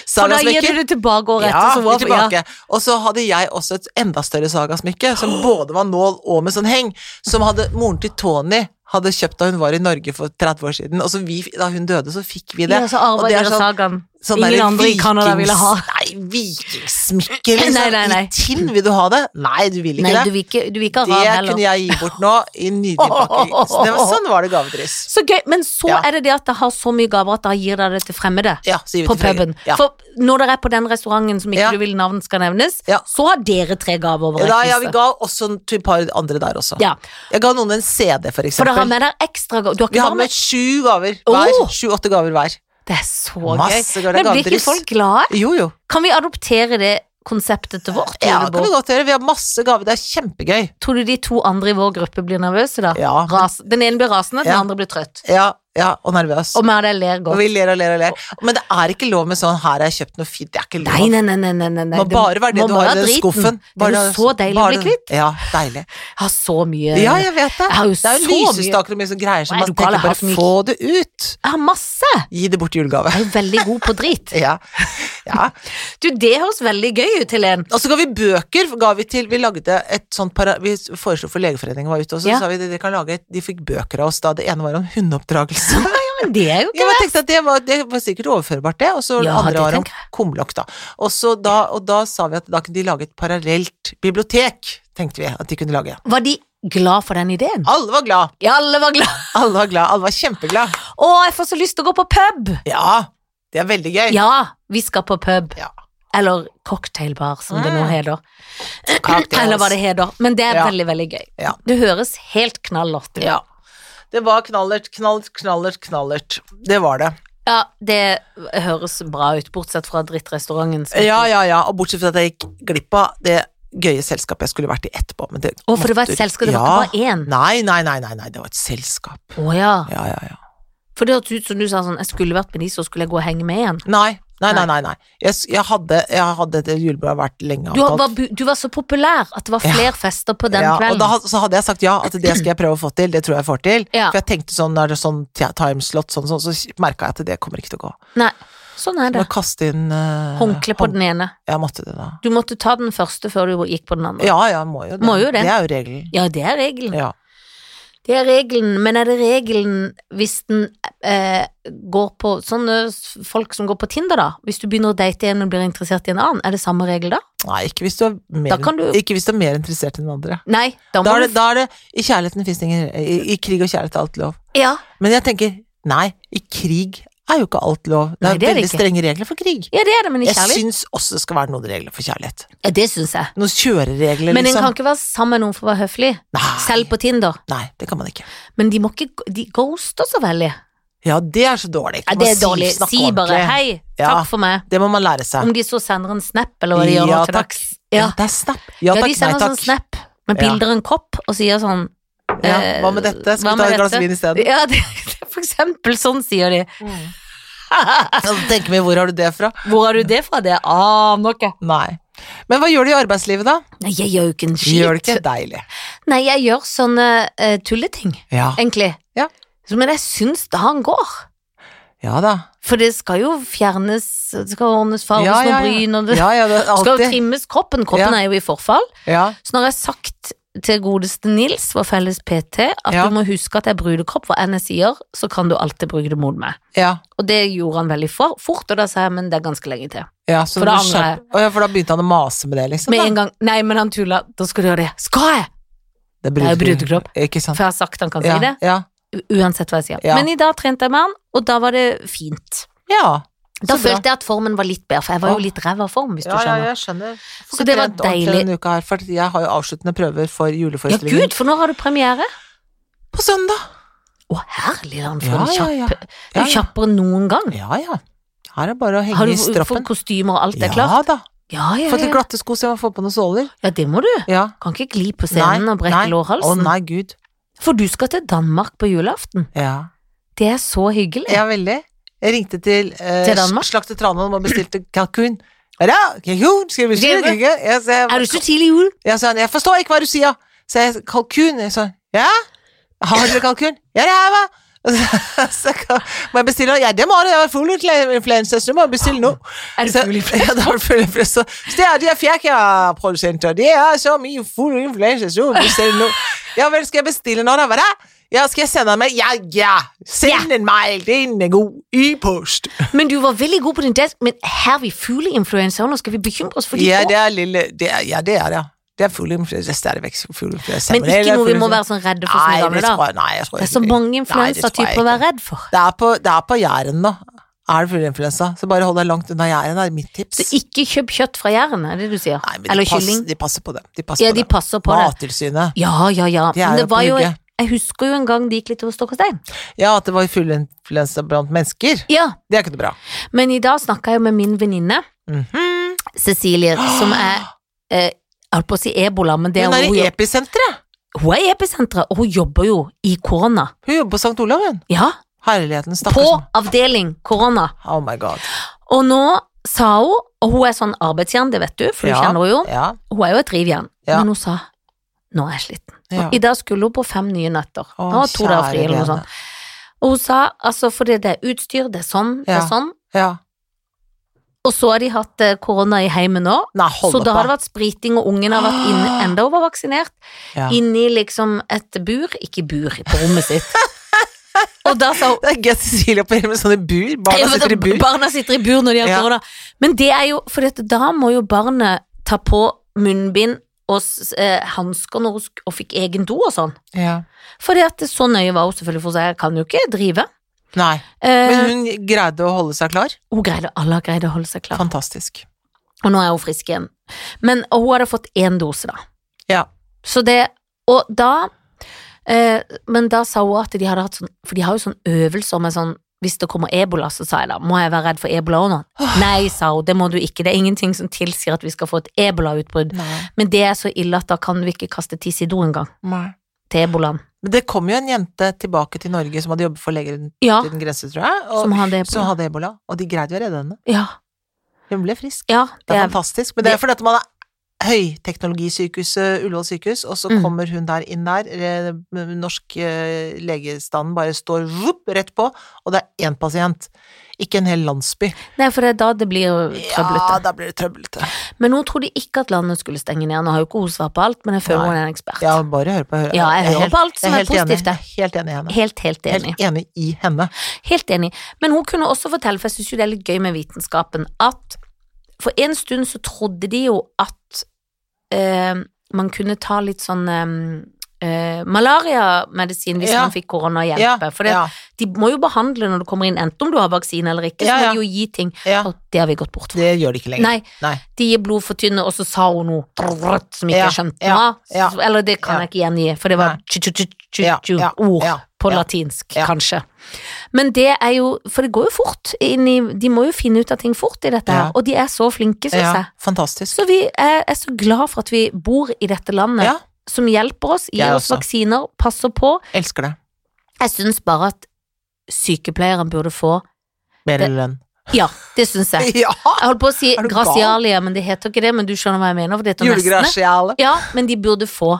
Speaker 2: For da gir
Speaker 1: sagasmykker.
Speaker 2: du det tilbake året
Speaker 1: Ja,
Speaker 2: etter. så
Speaker 1: vi
Speaker 2: hvorfor-
Speaker 1: tilbake. Og så hadde jeg også et enda større sagasmykke,
Speaker 2: [gasps]
Speaker 1: som både var nål og med sånn heng, som hadde moren til Tony hadde kjøpt da hun var i Norge for 30 år siden. Og så vi, da hun døde, så fikk vi
Speaker 2: Ja,
Speaker 1: det.
Speaker 2: ja så
Speaker 1: og det
Speaker 2: arbeider
Speaker 1: er sånn,
Speaker 2: sagaen.
Speaker 1: sånn
Speaker 2: Ingen
Speaker 1: derre
Speaker 2: andre i Canada ville ha.
Speaker 1: vikings- [laughs] Nei,
Speaker 2: [laughs]
Speaker 1: vikingsmykke, liksom.
Speaker 2: Nei, nei, nei.
Speaker 1: I tinn, vil du ha det? Nei, du vil ikke
Speaker 2: Nei,
Speaker 1: det.
Speaker 2: du vil ikke, du vil ikke ha
Speaker 1: det
Speaker 2: rar heller.
Speaker 1: kunne jeg gi bort nå, i nydelig pakke.
Speaker 2: [laughs]
Speaker 1: Så det var- Sånn var det gavedryss.
Speaker 2: Så gøy, men så
Speaker 1: Ja.
Speaker 2: er det det at det har så mye gaver at det gir deg det til fremmede.
Speaker 1: Ja, så gir vi
Speaker 2: På
Speaker 1: til Frøya.
Speaker 2: puben.
Speaker 1: Ja.
Speaker 2: For når dere er på den restauranten som ikke
Speaker 1: Ja.
Speaker 2: du vil navnet skal nevnes,
Speaker 1: Ja.
Speaker 2: så har dere tre gaver over
Speaker 1: Da, ja, vi ga også til et par andre der også.
Speaker 2: Ja,
Speaker 1: Jeg ga noen en CD, for
Speaker 2: For dere har
Speaker 1: eksempel.
Speaker 2: med dere ekstra gaver. Du har
Speaker 1: Vi
Speaker 2: ikke
Speaker 1: har
Speaker 2: bare
Speaker 1: med
Speaker 2: med
Speaker 1: sju gaver
Speaker 2: Oh!
Speaker 1: hver. Sju-åtte gaver hver.
Speaker 2: Det er så
Speaker 1: Masse
Speaker 2: gøy.
Speaker 1: gaver, det er
Speaker 2: Men blir
Speaker 1: gavedryss.
Speaker 2: ikke folk glade?
Speaker 1: Jo, jo.
Speaker 2: Kan vi adoptere det konseptet til vårt
Speaker 1: Ja, det kan vi
Speaker 2: julebord?
Speaker 1: godt gjøre. Vi har masse gaver. Det er kjempegøy.
Speaker 2: Tror du de to andre i vår gruppe blir nervøse da?
Speaker 1: Ja, men-
Speaker 2: Ras. Den ene blir rasende, den
Speaker 1: Ja.
Speaker 2: andre blir trøtt.
Speaker 1: Ja, ja, og nervøs.
Speaker 2: Og vi av deg ler
Speaker 1: Og
Speaker 2: godt.
Speaker 1: vi ler og ler og ler. Men det er ikke lov med sånn 'her har jeg kjøpt noe fint'. Det er ikke lov.
Speaker 2: Nei, nei, nei, nei, nei, nei.
Speaker 1: Det må bare være det
Speaker 2: må
Speaker 1: du har
Speaker 2: bare
Speaker 1: i den
Speaker 2: driten.
Speaker 1: skuffen. Bare
Speaker 2: det er jo så deilig å
Speaker 1: bare
Speaker 2: bli
Speaker 1: den-
Speaker 2: kvitt.
Speaker 1: Ja, deilig.
Speaker 2: Jeg har så mye
Speaker 1: Ja, jeg vet det.
Speaker 2: Jeg har jo
Speaker 1: Det er jo
Speaker 2: så mye-
Speaker 1: lysestaker og mye sånn greier som
Speaker 2: Nei,
Speaker 1: man
Speaker 2: du kan
Speaker 1: tenker
Speaker 2: aldri ha
Speaker 1: bare
Speaker 2: for mye.
Speaker 1: 'få det ut'.
Speaker 2: Jeg har masse!
Speaker 1: Gi det bort i julegave. [laughs]
Speaker 2: Jeg er jo veldig god på drit.
Speaker 1: Ja. ja.
Speaker 2: Du, det høres veldig gøy ut, Helen.
Speaker 1: Og så ga vi bøker, ga vi til Vi lagde et sånt para, Vi foreslo for Legeforeningen var ute, og så
Speaker 2: Ja.
Speaker 1: sa vi at de kan lage et De fikk bøker av oss da. Det ene var om hundeoppdragelse.
Speaker 2: Ja, men det er jo
Speaker 1: Ja,
Speaker 2: ikke
Speaker 1: men jeg tenkte at det var, det var sikkert overførbart, det. Og så
Speaker 2: Ja, det
Speaker 1: andre var om
Speaker 2: tenker
Speaker 1: kumlokk, da. Og, så da. og da sa vi at da kunne de lage et parallelt bibliotek, tenkte vi at de kunne lage.
Speaker 2: Var de glad for den ideen?
Speaker 1: Alle var glad.
Speaker 2: Ja, alle var glad.
Speaker 1: Alle var glad. Alle var kjempeglad.
Speaker 2: Å, jeg får så lyst til å gå på pub!
Speaker 1: Ja, det er veldig gøy.
Speaker 2: Ja, vi skal på pub.
Speaker 1: Ja.
Speaker 2: Eller cocktailbar, som det nå
Speaker 1: Mm.
Speaker 2: heter.
Speaker 1: Cocktails.
Speaker 2: Eller hva det heter. Men det er
Speaker 1: Ja.
Speaker 2: veldig, veldig gøy.
Speaker 1: Ja.
Speaker 2: Det høres helt knallert ut.
Speaker 1: Ja. Det var knallert, knallert, knallert, knallert. Det var det.
Speaker 2: Ja, det høres bra ut, bortsett fra drittrestauranten. som-
Speaker 1: Ja, ja, ja. Og bortsett fra at jeg gikk glipp av det gøye selskapet jeg skulle vært i etterpå. Men det
Speaker 2: Å, for det var et
Speaker 1: måtte-
Speaker 2: selskap, det var
Speaker 1: Ja.
Speaker 2: ikke bare én.
Speaker 1: Nei, nei, nei, nei, nei, det var et selskap.
Speaker 2: Å ja.
Speaker 1: Ja, ja, ja.
Speaker 2: For det hørtes ut som du sa sånn, jeg skulle vært med de, så skulle jeg gå og henge med igjen.
Speaker 1: Nei, Nei, nei, nei. nei. Jeg, s- jeg, hadde, jeg hadde et julebord vært lenge
Speaker 2: Du
Speaker 1: avtalt.
Speaker 2: var, bu- du var så populær at det var flere fester på den
Speaker 1: ja,
Speaker 2: kvelden.
Speaker 1: Og da had- så hadde jeg sagt ja, at det skal jeg prøve å få til, det tror jeg jeg får til.
Speaker 2: Ja.
Speaker 1: For jeg tenkte sånn, når det er sånn ti- timeslot, sånn, sånn, så merka jeg at det kommer ikke til å gå.
Speaker 2: Nei, sånn er
Speaker 1: Så
Speaker 2: det.
Speaker 1: må jeg kaste inn eh,
Speaker 2: Håndkle på
Speaker 1: hånd-
Speaker 2: den ene.
Speaker 1: Jeg måtte det, da.
Speaker 2: Du måtte ta den første før du gikk på den andre.
Speaker 1: Ja, ja, må jo det.
Speaker 2: Må jo det.
Speaker 1: er jo regelen.
Speaker 2: Ja, det er regelen.
Speaker 1: Ja.
Speaker 2: Det er regelen, men er det regelen hvis den eh, går på sånne s- folk som går på Tinder, da? Hvis du begynner å date en og blir interessert i en annen, er det samme regel da?
Speaker 1: Nei, ikke hvis du er mer,
Speaker 2: Da kan du-
Speaker 1: ikke hvis du er mer interessert enn andre.
Speaker 2: Nei, da må
Speaker 1: Da er det,
Speaker 2: du
Speaker 1: da er det I kjærligheten fins det ingen i, I krig og kjærlighet er alt lov.
Speaker 2: Ja,
Speaker 1: Men jeg tenker, nei, i krig er jo ikke alt lov. Det
Speaker 2: Nei,
Speaker 1: er,
Speaker 2: det er det
Speaker 1: veldig
Speaker 2: ikke.
Speaker 1: strenge regler for krig.
Speaker 2: ja det er det, men i
Speaker 1: Jeg
Speaker 2: kjærlighet
Speaker 1: syns også det skal være noen regler for kjærlighet.
Speaker 2: Ja, det syns jeg.
Speaker 1: Noen kjøreregler,
Speaker 2: Men en
Speaker 1: liksom.
Speaker 2: kan ikke være sammen med noen for å være høflig,
Speaker 1: Nei,
Speaker 2: selv på Tinder.
Speaker 1: nei, det kan man ikke.
Speaker 2: Men de må ikke De ghoster så veldig.
Speaker 1: Ja, det er så dårlig.
Speaker 2: Ja,
Speaker 1: Kan man
Speaker 2: det er
Speaker 1: si-
Speaker 2: dårlig.
Speaker 1: snakke
Speaker 2: Si bare
Speaker 1: ordentlig?
Speaker 2: 'hei,
Speaker 1: Ja.
Speaker 2: takk for meg'.
Speaker 1: Det må man lære seg.
Speaker 2: Om de så sender en snap, eller hva de gjør nå
Speaker 1: Ja,
Speaker 2: til
Speaker 1: takk.
Speaker 2: dags.
Speaker 1: Ja,
Speaker 2: Ja.
Speaker 1: det er snap. Ja,
Speaker 2: ja,
Speaker 1: takk,
Speaker 2: de sender
Speaker 1: nei
Speaker 2: sånn
Speaker 1: takk.
Speaker 2: snap med
Speaker 1: Ja.
Speaker 2: bilder av en kopp, og sier sånn
Speaker 1: Ja,
Speaker 2: eh,
Speaker 1: hva med dette? Skal
Speaker 2: hva
Speaker 1: vi ta
Speaker 2: med
Speaker 1: et glass
Speaker 2: dette?
Speaker 1: vin isteden?
Speaker 2: Ja, det, [laughs] det, for eksempel sånn sier de.
Speaker 1: Ja, så tenker vi, hvor har du det fra?
Speaker 2: [laughs] Hvor har du det fra? Det aner ikke.
Speaker 1: Nei. Men hva gjør du i arbeidslivet, da?
Speaker 2: Nei, jeg gjør jo ikke en
Speaker 1: Gjør det
Speaker 2: skit.
Speaker 1: ikke deilig?
Speaker 2: Nei, jeg gjør sånne eh, tulleting,
Speaker 1: Ja.
Speaker 2: egentlig.
Speaker 1: Ja.
Speaker 2: Så, Men jeg syns dagen går.
Speaker 1: ja da.
Speaker 2: For det skal jo fjernes, det skal ordnes farges
Speaker 1: Ja, ja,
Speaker 2: og bryn, og det
Speaker 1: Ja, ja, det er
Speaker 2: [laughs] skal jo
Speaker 1: alltid.
Speaker 2: trimmes kroppen. Kroppen
Speaker 1: Ja.
Speaker 2: er jo i forfall.
Speaker 1: Ja.
Speaker 2: Så når jeg har sagt til godeste Nils, vår felles PT, at
Speaker 1: Ja.
Speaker 2: du må huske at jeg er brudekropp, hva enn jeg sier, så kan du alltid bruke det mot meg.
Speaker 1: ja.
Speaker 2: Og det gjorde han veldig for, fort, og da sa jeg men det er ganske lenge til.
Speaker 1: Ja, så
Speaker 2: For
Speaker 1: du
Speaker 2: det angrer
Speaker 1: skjerper- Å ja, for da begynte han å mase med det, liksom?
Speaker 2: Med
Speaker 1: Da.
Speaker 2: en gang Nei, men han tulla, da skal du gjøre det. Skal jeg?
Speaker 1: Det er
Speaker 2: Det er jo
Speaker 1: brudekropp. Ikke sant.
Speaker 2: For jeg har sagt han kan si
Speaker 1: Ja,
Speaker 2: det,
Speaker 1: ja.
Speaker 2: u- uansett hva jeg sier.
Speaker 1: Ja.
Speaker 2: Men i dag trente jeg med han, og da var det fint.
Speaker 1: ja.
Speaker 2: Da
Speaker 1: Så bra.
Speaker 2: følte jeg at formen var litt bedre, for jeg var
Speaker 1: Åh.
Speaker 2: jo litt ræva form, hvis du
Speaker 1: Ja, ja,
Speaker 2: skjønner.
Speaker 1: jeg skjønner. Får
Speaker 2: Så
Speaker 1: ikke
Speaker 2: det var
Speaker 1: trent ordentlig
Speaker 2: deilig.
Speaker 1: Denne uka her, for jeg har jo avsluttende prøver for
Speaker 2: Ja,
Speaker 1: juleforestillingen
Speaker 2: gud, for nå har du premiere.
Speaker 1: på søndag.
Speaker 2: Å, herlig land, for
Speaker 1: Ja,
Speaker 2: en
Speaker 1: ja, ja.
Speaker 2: kjapp Du
Speaker 1: Ja,
Speaker 2: er
Speaker 1: ja.
Speaker 2: kjappere enn noen gang.
Speaker 1: ja, ja. Her er det bare å henge
Speaker 2: Har du
Speaker 1: i
Speaker 2: f- fått
Speaker 1: stroppen.
Speaker 2: kostymer og alt er klart?
Speaker 1: Ja da.
Speaker 2: Ja, ja,
Speaker 1: Fått litt
Speaker 2: ja.
Speaker 1: glatte sko så jeg må få på noen såler.
Speaker 2: ja, det må du.
Speaker 1: Ja.
Speaker 2: Kan ikke gli på scenen
Speaker 1: Nei,
Speaker 2: og brekke
Speaker 1: nei. Å
Speaker 2: lårhalsen.
Speaker 1: nei, gud.
Speaker 2: For du skal til Danmark på julaften.
Speaker 1: Ja.
Speaker 2: Det er så hyggelig.
Speaker 1: Ja, veldig. Jeg ringte til, eh,
Speaker 2: Til Danmark?
Speaker 1: Slakter Tranholm og bestilte kalkun. Ja, kalkun, skal vi bestille
Speaker 2: Det er
Speaker 1: kalkun? Jeg sa,
Speaker 2: Er du så tidlig jul?
Speaker 1: jeg, sa, jeg forstår ikke hva du sier. Så jeg, kalkun, jeg sa, ja? Har dere kalkun? Ja, det har jeg. [laughs] Og Så, så ka- må jeg bestille, ja, det må du, jeg har fugleinfluensa, så du må bestille nå.
Speaker 2: Er du
Speaker 1: Så, [laughs] ja, det var fugleinfluensa. Så det er de her fjerkjærprodusenter, det er så mye fugleinfluensa, så du må bestille nå. Ja vel, skal jeg bestille nå da, hva da? Ja, skal jeg sende meg? Ja, ja, send en mail, den er god, e-post.
Speaker 2: Men du var veldig god på din dans, men her er vi fugleinfluensa, og nå skal vi bekymre oss for de
Speaker 1: Ja,
Speaker 2: også.
Speaker 1: det er lille, det er, ja, det er det. Det er fugleinfluensa, det er stadigvæk fugleinfluensa.
Speaker 2: Men ikke noe vi må være sånn redde for som i gamle
Speaker 1: det tror
Speaker 2: dager.
Speaker 1: jeg- Nei, jeg tror
Speaker 2: Det er så
Speaker 1: ikke.
Speaker 2: mange
Speaker 1: tror jeg
Speaker 2: influensatyper å være redd for.
Speaker 1: Det er på, det er på Jæren, da. Er det fugleinfluensa, så bare hold deg langt unna Jæren, er mitt tips.
Speaker 2: Så ikke kjøp kjøtt fra Jæren, er det du sier?
Speaker 1: Nei, men de
Speaker 2: Eller
Speaker 1: passer,
Speaker 2: kylling.
Speaker 1: De passer på det. De passer
Speaker 2: Ja,
Speaker 1: på
Speaker 2: de
Speaker 1: det.
Speaker 2: passer på det.
Speaker 1: Mattilsynet.
Speaker 2: Ja, ja, ja.
Speaker 1: De er
Speaker 2: Men
Speaker 1: jo
Speaker 2: det var
Speaker 1: på
Speaker 2: jo
Speaker 1: hugget.
Speaker 2: Jeg husker jo en gang det gikk litt over stokk og stein.
Speaker 1: Ja, at det var fugleinfluensa blant mennesker.
Speaker 2: Ja,
Speaker 1: Det er ikke noe bra.
Speaker 2: men i dag snakka jeg jo med min venninne
Speaker 1: Mhm.
Speaker 2: Cecilie, som er eh, Jeg holdt på å si ebola, men det er
Speaker 1: Hun er
Speaker 2: hun,
Speaker 1: i
Speaker 2: jo-
Speaker 1: episenteret.
Speaker 2: hun er i episenteret, og hun jobber jo i korona.
Speaker 1: Hun jobber på St. Olav, hun.
Speaker 2: Ja,
Speaker 1: Herligheten,
Speaker 2: på
Speaker 1: stakkars.
Speaker 2: avdeling korona.
Speaker 1: Oh my god.
Speaker 2: Og nå sa hun, og hun er sånn arbeidsjern, det vet du, for du
Speaker 1: Ja.
Speaker 2: kjenner henne jo,
Speaker 1: Ja.
Speaker 2: hun er jo et drivjern,
Speaker 1: Ja.
Speaker 2: men hun sa nå er jeg sliten.
Speaker 1: ja.
Speaker 2: I dag skulle hun på fem nye netter.
Speaker 1: Å,
Speaker 2: Hun har to dager fri
Speaker 1: kjære
Speaker 2: eller noe
Speaker 1: vene.
Speaker 2: sånt. Og hun sa altså fordi det er utstyr, det er sånn, det
Speaker 1: Ja.
Speaker 2: er sånn.
Speaker 1: Ja.
Speaker 2: Og så har de hatt eh, korona i heimen nå,
Speaker 1: Nei, hold
Speaker 2: så
Speaker 1: opp,
Speaker 2: da har det
Speaker 1: da.
Speaker 2: vært spriting, og ungen har
Speaker 1: [gasps]
Speaker 2: vært inne enda hun var vaksinert.
Speaker 1: Ja.
Speaker 2: Inni liksom et bur, ikke bur, på rommet
Speaker 1: [laughs]
Speaker 2: sitt. Og da sa hun
Speaker 1: Det er gøy at Cecilie opererer med sånne bur. Barna
Speaker 2: Ja, men sånn
Speaker 1: sitter i
Speaker 2: da-
Speaker 1: bur.
Speaker 2: Barna sitter i bur når de har
Speaker 1: Ja.
Speaker 2: korona. Men det er jo For at da må jo barnet ta på munnbind og s- eh, hansker når hun sk- og fikk egen do og sånn.
Speaker 1: Ja.
Speaker 2: For det at det- så nøye var hun selvfølgelig, for seg, jeg kan jo ikke drive.
Speaker 1: Nei. Men
Speaker 2: Eh, hun,
Speaker 1: hun greide å holde seg klar.
Speaker 2: greide, alle har greid å holde seg klar.
Speaker 1: Fantastisk.
Speaker 2: Og nå er hun frisk igjen. Men og hun hadde fått én dose, da.
Speaker 1: Ja.
Speaker 2: Så det Og da eh, Men da sa hun at de hadde hatt sånn For de har jo sånn øvelser med sånn Hvis det kommer ebola, så sa jeg da Må jeg være redd for ebola òg nå? Nei, sa hun, det må du ikke. Det er ingenting som tilsier at vi skal få et ebolautbrudd.
Speaker 1: Nei.
Speaker 2: Men det er så ille at da kan vi ikke kaste tiss i do engang.
Speaker 1: Nei.
Speaker 2: Til ebolaen.
Speaker 1: Men det kom jo en jente tilbake til Norge som hadde jobbet for leger
Speaker 2: Ja,
Speaker 1: uten grenser, tror jeg, og,
Speaker 2: Ah. som hadde
Speaker 1: som
Speaker 2: ebola.
Speaker 1: hadde ebola, og de greide jo å redde henne.
Speaker 2: Ja.
Speaker 1: Hun ble frisk.
Speaker 2: Ja,
Speaker 1: Det er
Speaker 2: det er
Speaker 1: fantastisk. Men det er
Speaker 2: det-
Speaker 1: fordi at man er høyteknologisykehuset Ullevål sykehus, og så
Speaker 2: Mm.
Speaker 1: kommer hun der inn der. eh, Norsk eh, legestanden bare står vup, rett på, og det er én pasient. Ikke en hel landsby.
Speaker 2: Nei, for det er da det blir
Speaker 1: Ja,
Speaker 2: trøblete.
Speaker 1: da blir det trøblete.
Speaker 2: Men hun trodde ikke at landet skulle stenge ned. Nå har jo ikke hun svar på alt, men jeg føler
Speaker 1: Nei.
Speaker 2: hun er en ekspert.
Speaker 1: Ja, bare hør på høre.
Speaker 2: Ja, jeg hører på alt som
Speaker 1: jeg
Speaker 2: er
Speaker 1: helt enig.
Speaker 2: positivt, jeg.
Speaker 1: Jeg er Helt enig i henne.
Speaker 2: Helt, helt enig.
Speaker 1: Helt enig i henne.
Speaker 2: Helt enig. Men hun kunne også fortelle, for jeg syns jo det er litt gøy med vitenskapen, at for en stund så trodde de jo at eh, man kunne ta litt sånn eh, eh, malariamedisin hvis
Speaker 1: Ja.
Speaker 2: man fikk korona og
Speaker 1: Ja,
Speaker 2: hjelpe. For det,
Speaker 1: ja,
Speaker 2: de må jo behandle når du kommer inn, enten om du har vaksine eller ikke,
Speaker 1: Ja,
Speaker 2: så
Speaker 1: ja.
Speaker 2: må de jo gi ting.
Speaker 1: ja.
Speaker 2: Og det har vi gått bort fra.
Speaker 1: Det gjør det ikke lenger.
Speaker 2: Nei,
Speaker 1: Nei.
Speaker 2: de gir blod for tynne, og så sa hun noe drrrt, som ikke
Speaker 1: Ja,
Speaker 2: jeg skjønte noe
Speaker 1: ja,
Speaker 2: av. Så- Eller det kan
Speaker 1: ja.
Speaker 2: jeg ikke gjengi, for det var
Speaker 1: Nei. Ja, ja,
Speaker 2: tju-tju-tju-ord
Speaker 1: ja,
Speaker 2: på
Speaker 1: ja.
Speaker 2: latinsk,
Speaker 1: Ja.
Speaker 2: kanskje. Men det er jo For det går jo fort. Inn i, de må jo finne ut av ting fort i dette
Speaker 1: Ja.
Speaker 2: her, og de er så flinke,
Speaker 1: Ja,
Speaker 2: syns jeg.
Speaker 1: fantastisk.
Speaker 2: Så vi er, er så glad for at vi bor i dette landet,
Speaker 1: Ja,
Speaker 2: som hjelper oss, gir
Speaker 1: Jeg
Speaker 2: oss
Speaker 1: også.
Speaker 2: vaksiner, passer på.
Speaker 1: elsker det.
Speaker 2: Jeg syns bare at sykepleiere burde få
Speaker 1: Bedre
Speaker 2: Det-
Speaker 1: lønn.
Speaker 2: Ja, det syns
Speaker 1: [laughs]
Speaker 2: jeg.
Speaker 1: Ja!
Speaker 2: Jeg holdt på å si
Speaker 1: Er du gal?
Speaker 2: grasialia, men det heter ikke det, men du skjønner hva jeg mener, for det heter nestene.
Speaker 1: Julegrasjale.
Speaker 2: Ja, men de burde få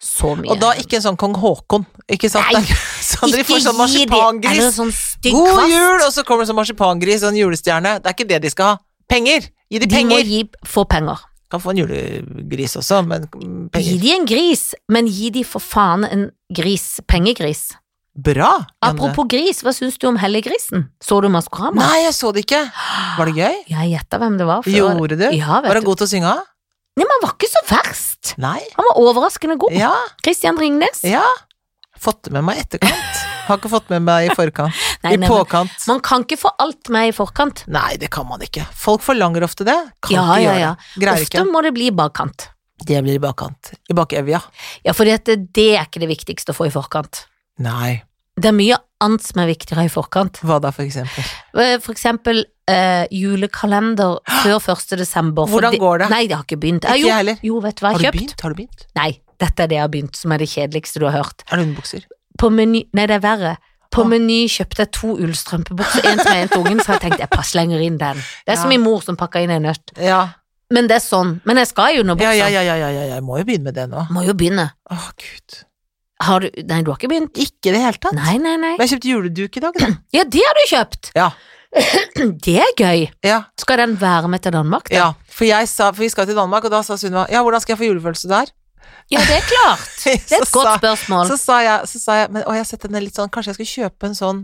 Speaker 2: så mye.
Speaker 1: Og da ikke en sånn kong Haakon, ikke sant?
Speaker 2: Nei,
Speaker 1: [laughs] Det er ikke sånn de får sånn
Speaker 2: gi de- Eller
Speaker 1: marsipangris.
Speaker 2: sånn stygg
Speaker 1: God
Speaker 2: kvast.
Speaker 1: jul! Og så kommer det sånn marsipangris og en julestjerne. Det er ikke det de skal ha. Penger! Gi de
Speaker 2: De må
Speaker 1: penger!
Speaker 2: gi, få penger.
Speaker 1: Kan få en julegris også, men mm,
Speaker 2: Gi
Speaker 1: penger.
Speaker 2: de en gris, men gi de for faen en gris. Pengegris.
Speaker 1: Bra! Janne.
Speaker 2: Apropos gris, hva syns du om Helliggrisen? Så du Maskorama?
Speaker 1: Nei, jeg så det ikke.
Speaker 2: [gasps]
Speaker 1: Var det gøy?
Speaker 2: Jeg gjetta hvem det var før.
Speaker 1: Gjorde du?
Speaker 2: Ja,
Speaker 1: Var
Speaker 2: vet
Speaker 1: han
Speaker 2: du.
Speaker 1: god til å synge? av?
Speaker 2: Nei, men han var ikke så verst.
Speaker 1: Nei.
Speaker 2: Han var overraskende god.
Speaker 1: Ja.
Speaker 2: Christian Ringnes.
Speaker 1: ja. Fått det med meg i etterkant. Har ikke fått med meg i forkant.
Speaker 2: Nei,
Speaker 1: I
Speaker 2: nei, men
Speaker 1: påkant.
Speaker 2: man kan ikke få alt med i forkant.
Speaker 1: Nei, det kan man ikke. Folk forlanger ofte det. Kan
Speaker 2: Ja,
Speaker 1: ikke
Speaker 2: ja,
Speaker 1: gjøre
Speaker 2: ja.
Speaker 1: det. Greier
Speaker 2: Ofte må det bli i bakkant.
Speaker 1: ikke. Det blir i bakkant. I bakevja.
Speaker 2: Ja, for det, det er ikke det viktigste å få i forkant.
Speaker 1: Nei.
Speaker 2: Det er mye annet som er viktigere i forkant.
Speaker 1: Hva da, for eksempel?
Speaker 2: Eh, For eksempel eh,
Speaker 1: [gasps]
Speaker 2: julekalender før 1. desember. for
Speaker 1: Hvordan går det?
Speaker 2: Nei, det har ikke begynt. Eh,
Speaker 1: Ikke
Speaker 2: jo,
Speaker 1: jeg heller.
Speaker 2: Jo, vet du hva
Speaker 1: Har
Speaker 2: jeg
Speaker 1: du
Speaker 2: har kjøpt?
Speaker 1: begynt? Har du begynt?
Speaker 2: Nei, dette er det jeg har begynt, som er det kjedeligste du har hørt.
Speaker 1: Er det underbukser?
Speaker 2: På meny, nei, det er verre. På
Speaker 1: Å.
Speaker 2: Meny kjøpte jeg to ullstrømpebukser, en til meg, en til ungen, så jeg tenkte jeg passer lenger inn den. Det er
Speaker 1: Ja.
Speaker 2: som min mor som pakker inn en nøtt.
Speaker 1: Ja.
Speaker 2: Men det er sånn. Men jeg skal jo nå
Speaker 1: Ja,
Speaker 2: buksa.
Speaker 1: ja, ja, ja, ja, ja, jeg må jo begynne med det nå.
Speaker 2: Må jo begynne.
Speaker 1: Å, gud.
Speaker 2: Har du Nei, du har ikke begynt?
Speaker 1: Ikke i det hele tatt.
Speaker 2: Nei, nei, nei.
Speaker 1: Men jeg kjøpte juleduk i dag,
Speaker 2: [clears throat]
Speaker 1: da.
Speaker 2: Ja, det har du kjøpt!
Speaker 1: Ja.
Speaker 2: [clears throat] Det er gøy.
Speaker 1: Ja.
Speaker 2: Skal den være med til Danmark, da?
Speaker 1: Ja, for, jeg sa, for vi skal til Danmark, og da sa Sunniva ja, hvordan skal jeg få julefølelse der? [laughs]
Speaker 2: Ja, det er klart. Det er
Speaker 1: Så
Speaker 2: et godt
Speaker 1: sa-
Speaker 2: spørsmål.
Speaker 1: Så sa jeg, så sa jeg men, og jeg har sett denne litt sånn, kanskje jeg skal kjøpe en sånn,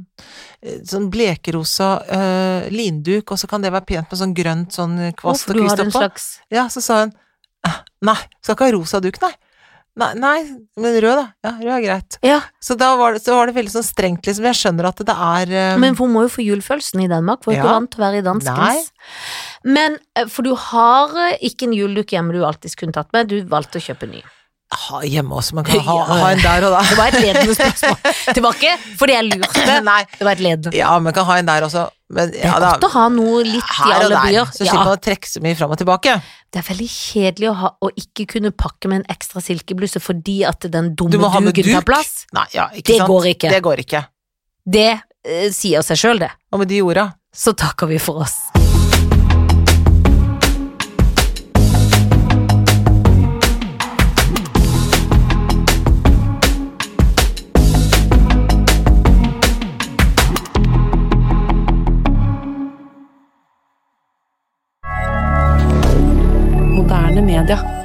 Speaker 1: eh, sånn blekerosa eh, linduk, og så kan det være pent med sånn grønt sånn kvast og
Speaker 2: Hvorfor du
Speaker 1: kvist
Speaker 2: hadde en
Speaker 1: oppå.
Speaker 2: slags
Speaker 1: Ja, så sa hun «Eh, nei, skal ikke ha rosa duk, nei. Nei, nei, men rød da. Ja, rød er greit.
Speaker 2: Ja,
Speaker 1: Så da var det, så var det veldig sånn strengt, liksom. Jeg skjønner at det er eh,
Speaker 2: men hun må jo få julefølelsen i Danmark, for hun er
Speaker 1: Ja.
Speaker 2: ikke vant til å være i danskens. Men, eh, for du har eh, ikke en juleduk hjemme du alltid kunne tatt med, du valgte å kjøpe en ny.
Speaker 1: ha, hjemme også,
Speaker 2: [laughs]
Speaker 1: man kan ha,
Speaker 2: Ja.
Speaker 1: ha en der og da.
Speaker 2: [laughs] Det var et ledende spørsmål. Det var ikke fordi jeg lurte,
Speaker 1: [laughs] nei,
Speaker 2: det var et ledende.
Speaker 1: ja, man kan ha en der også. Men,
Speaker 2: Det
Speaker 1: ja,
Speaker 2: er
Speaker 1: da,
Speaker 2: godt å ha noe litt i
Speaker 1: her og
Speaker 2: alle
Speaker 1: der,
Speaker 2: byer.
Speaker 1: så slipper
Speaker 2: Ja,
Speaker 1: man å trekke så mye fram og tilbake.
Speaker 2: det er veldig kjedelig å, ha, å ikke kunne pakke med en ekstra silkebluse fordi at den dumme
Speaker 1: Du må ha med
Speaker 2: duken tar
Speaker 1: duk.
Speaker 2: plass.
Speaker 1: Nei, ja, ikke
Speaker 2: Det
Speaker 1: sant?
Speaker 2: går ikke.
Speaker 1: Det går ikke.
Speaker 2: Det eh, sier seg sjøl, det.
Speaker 1: Og med de orda
Speaker 2: Så takker vi for oss.
Speaker 3: Moderne media.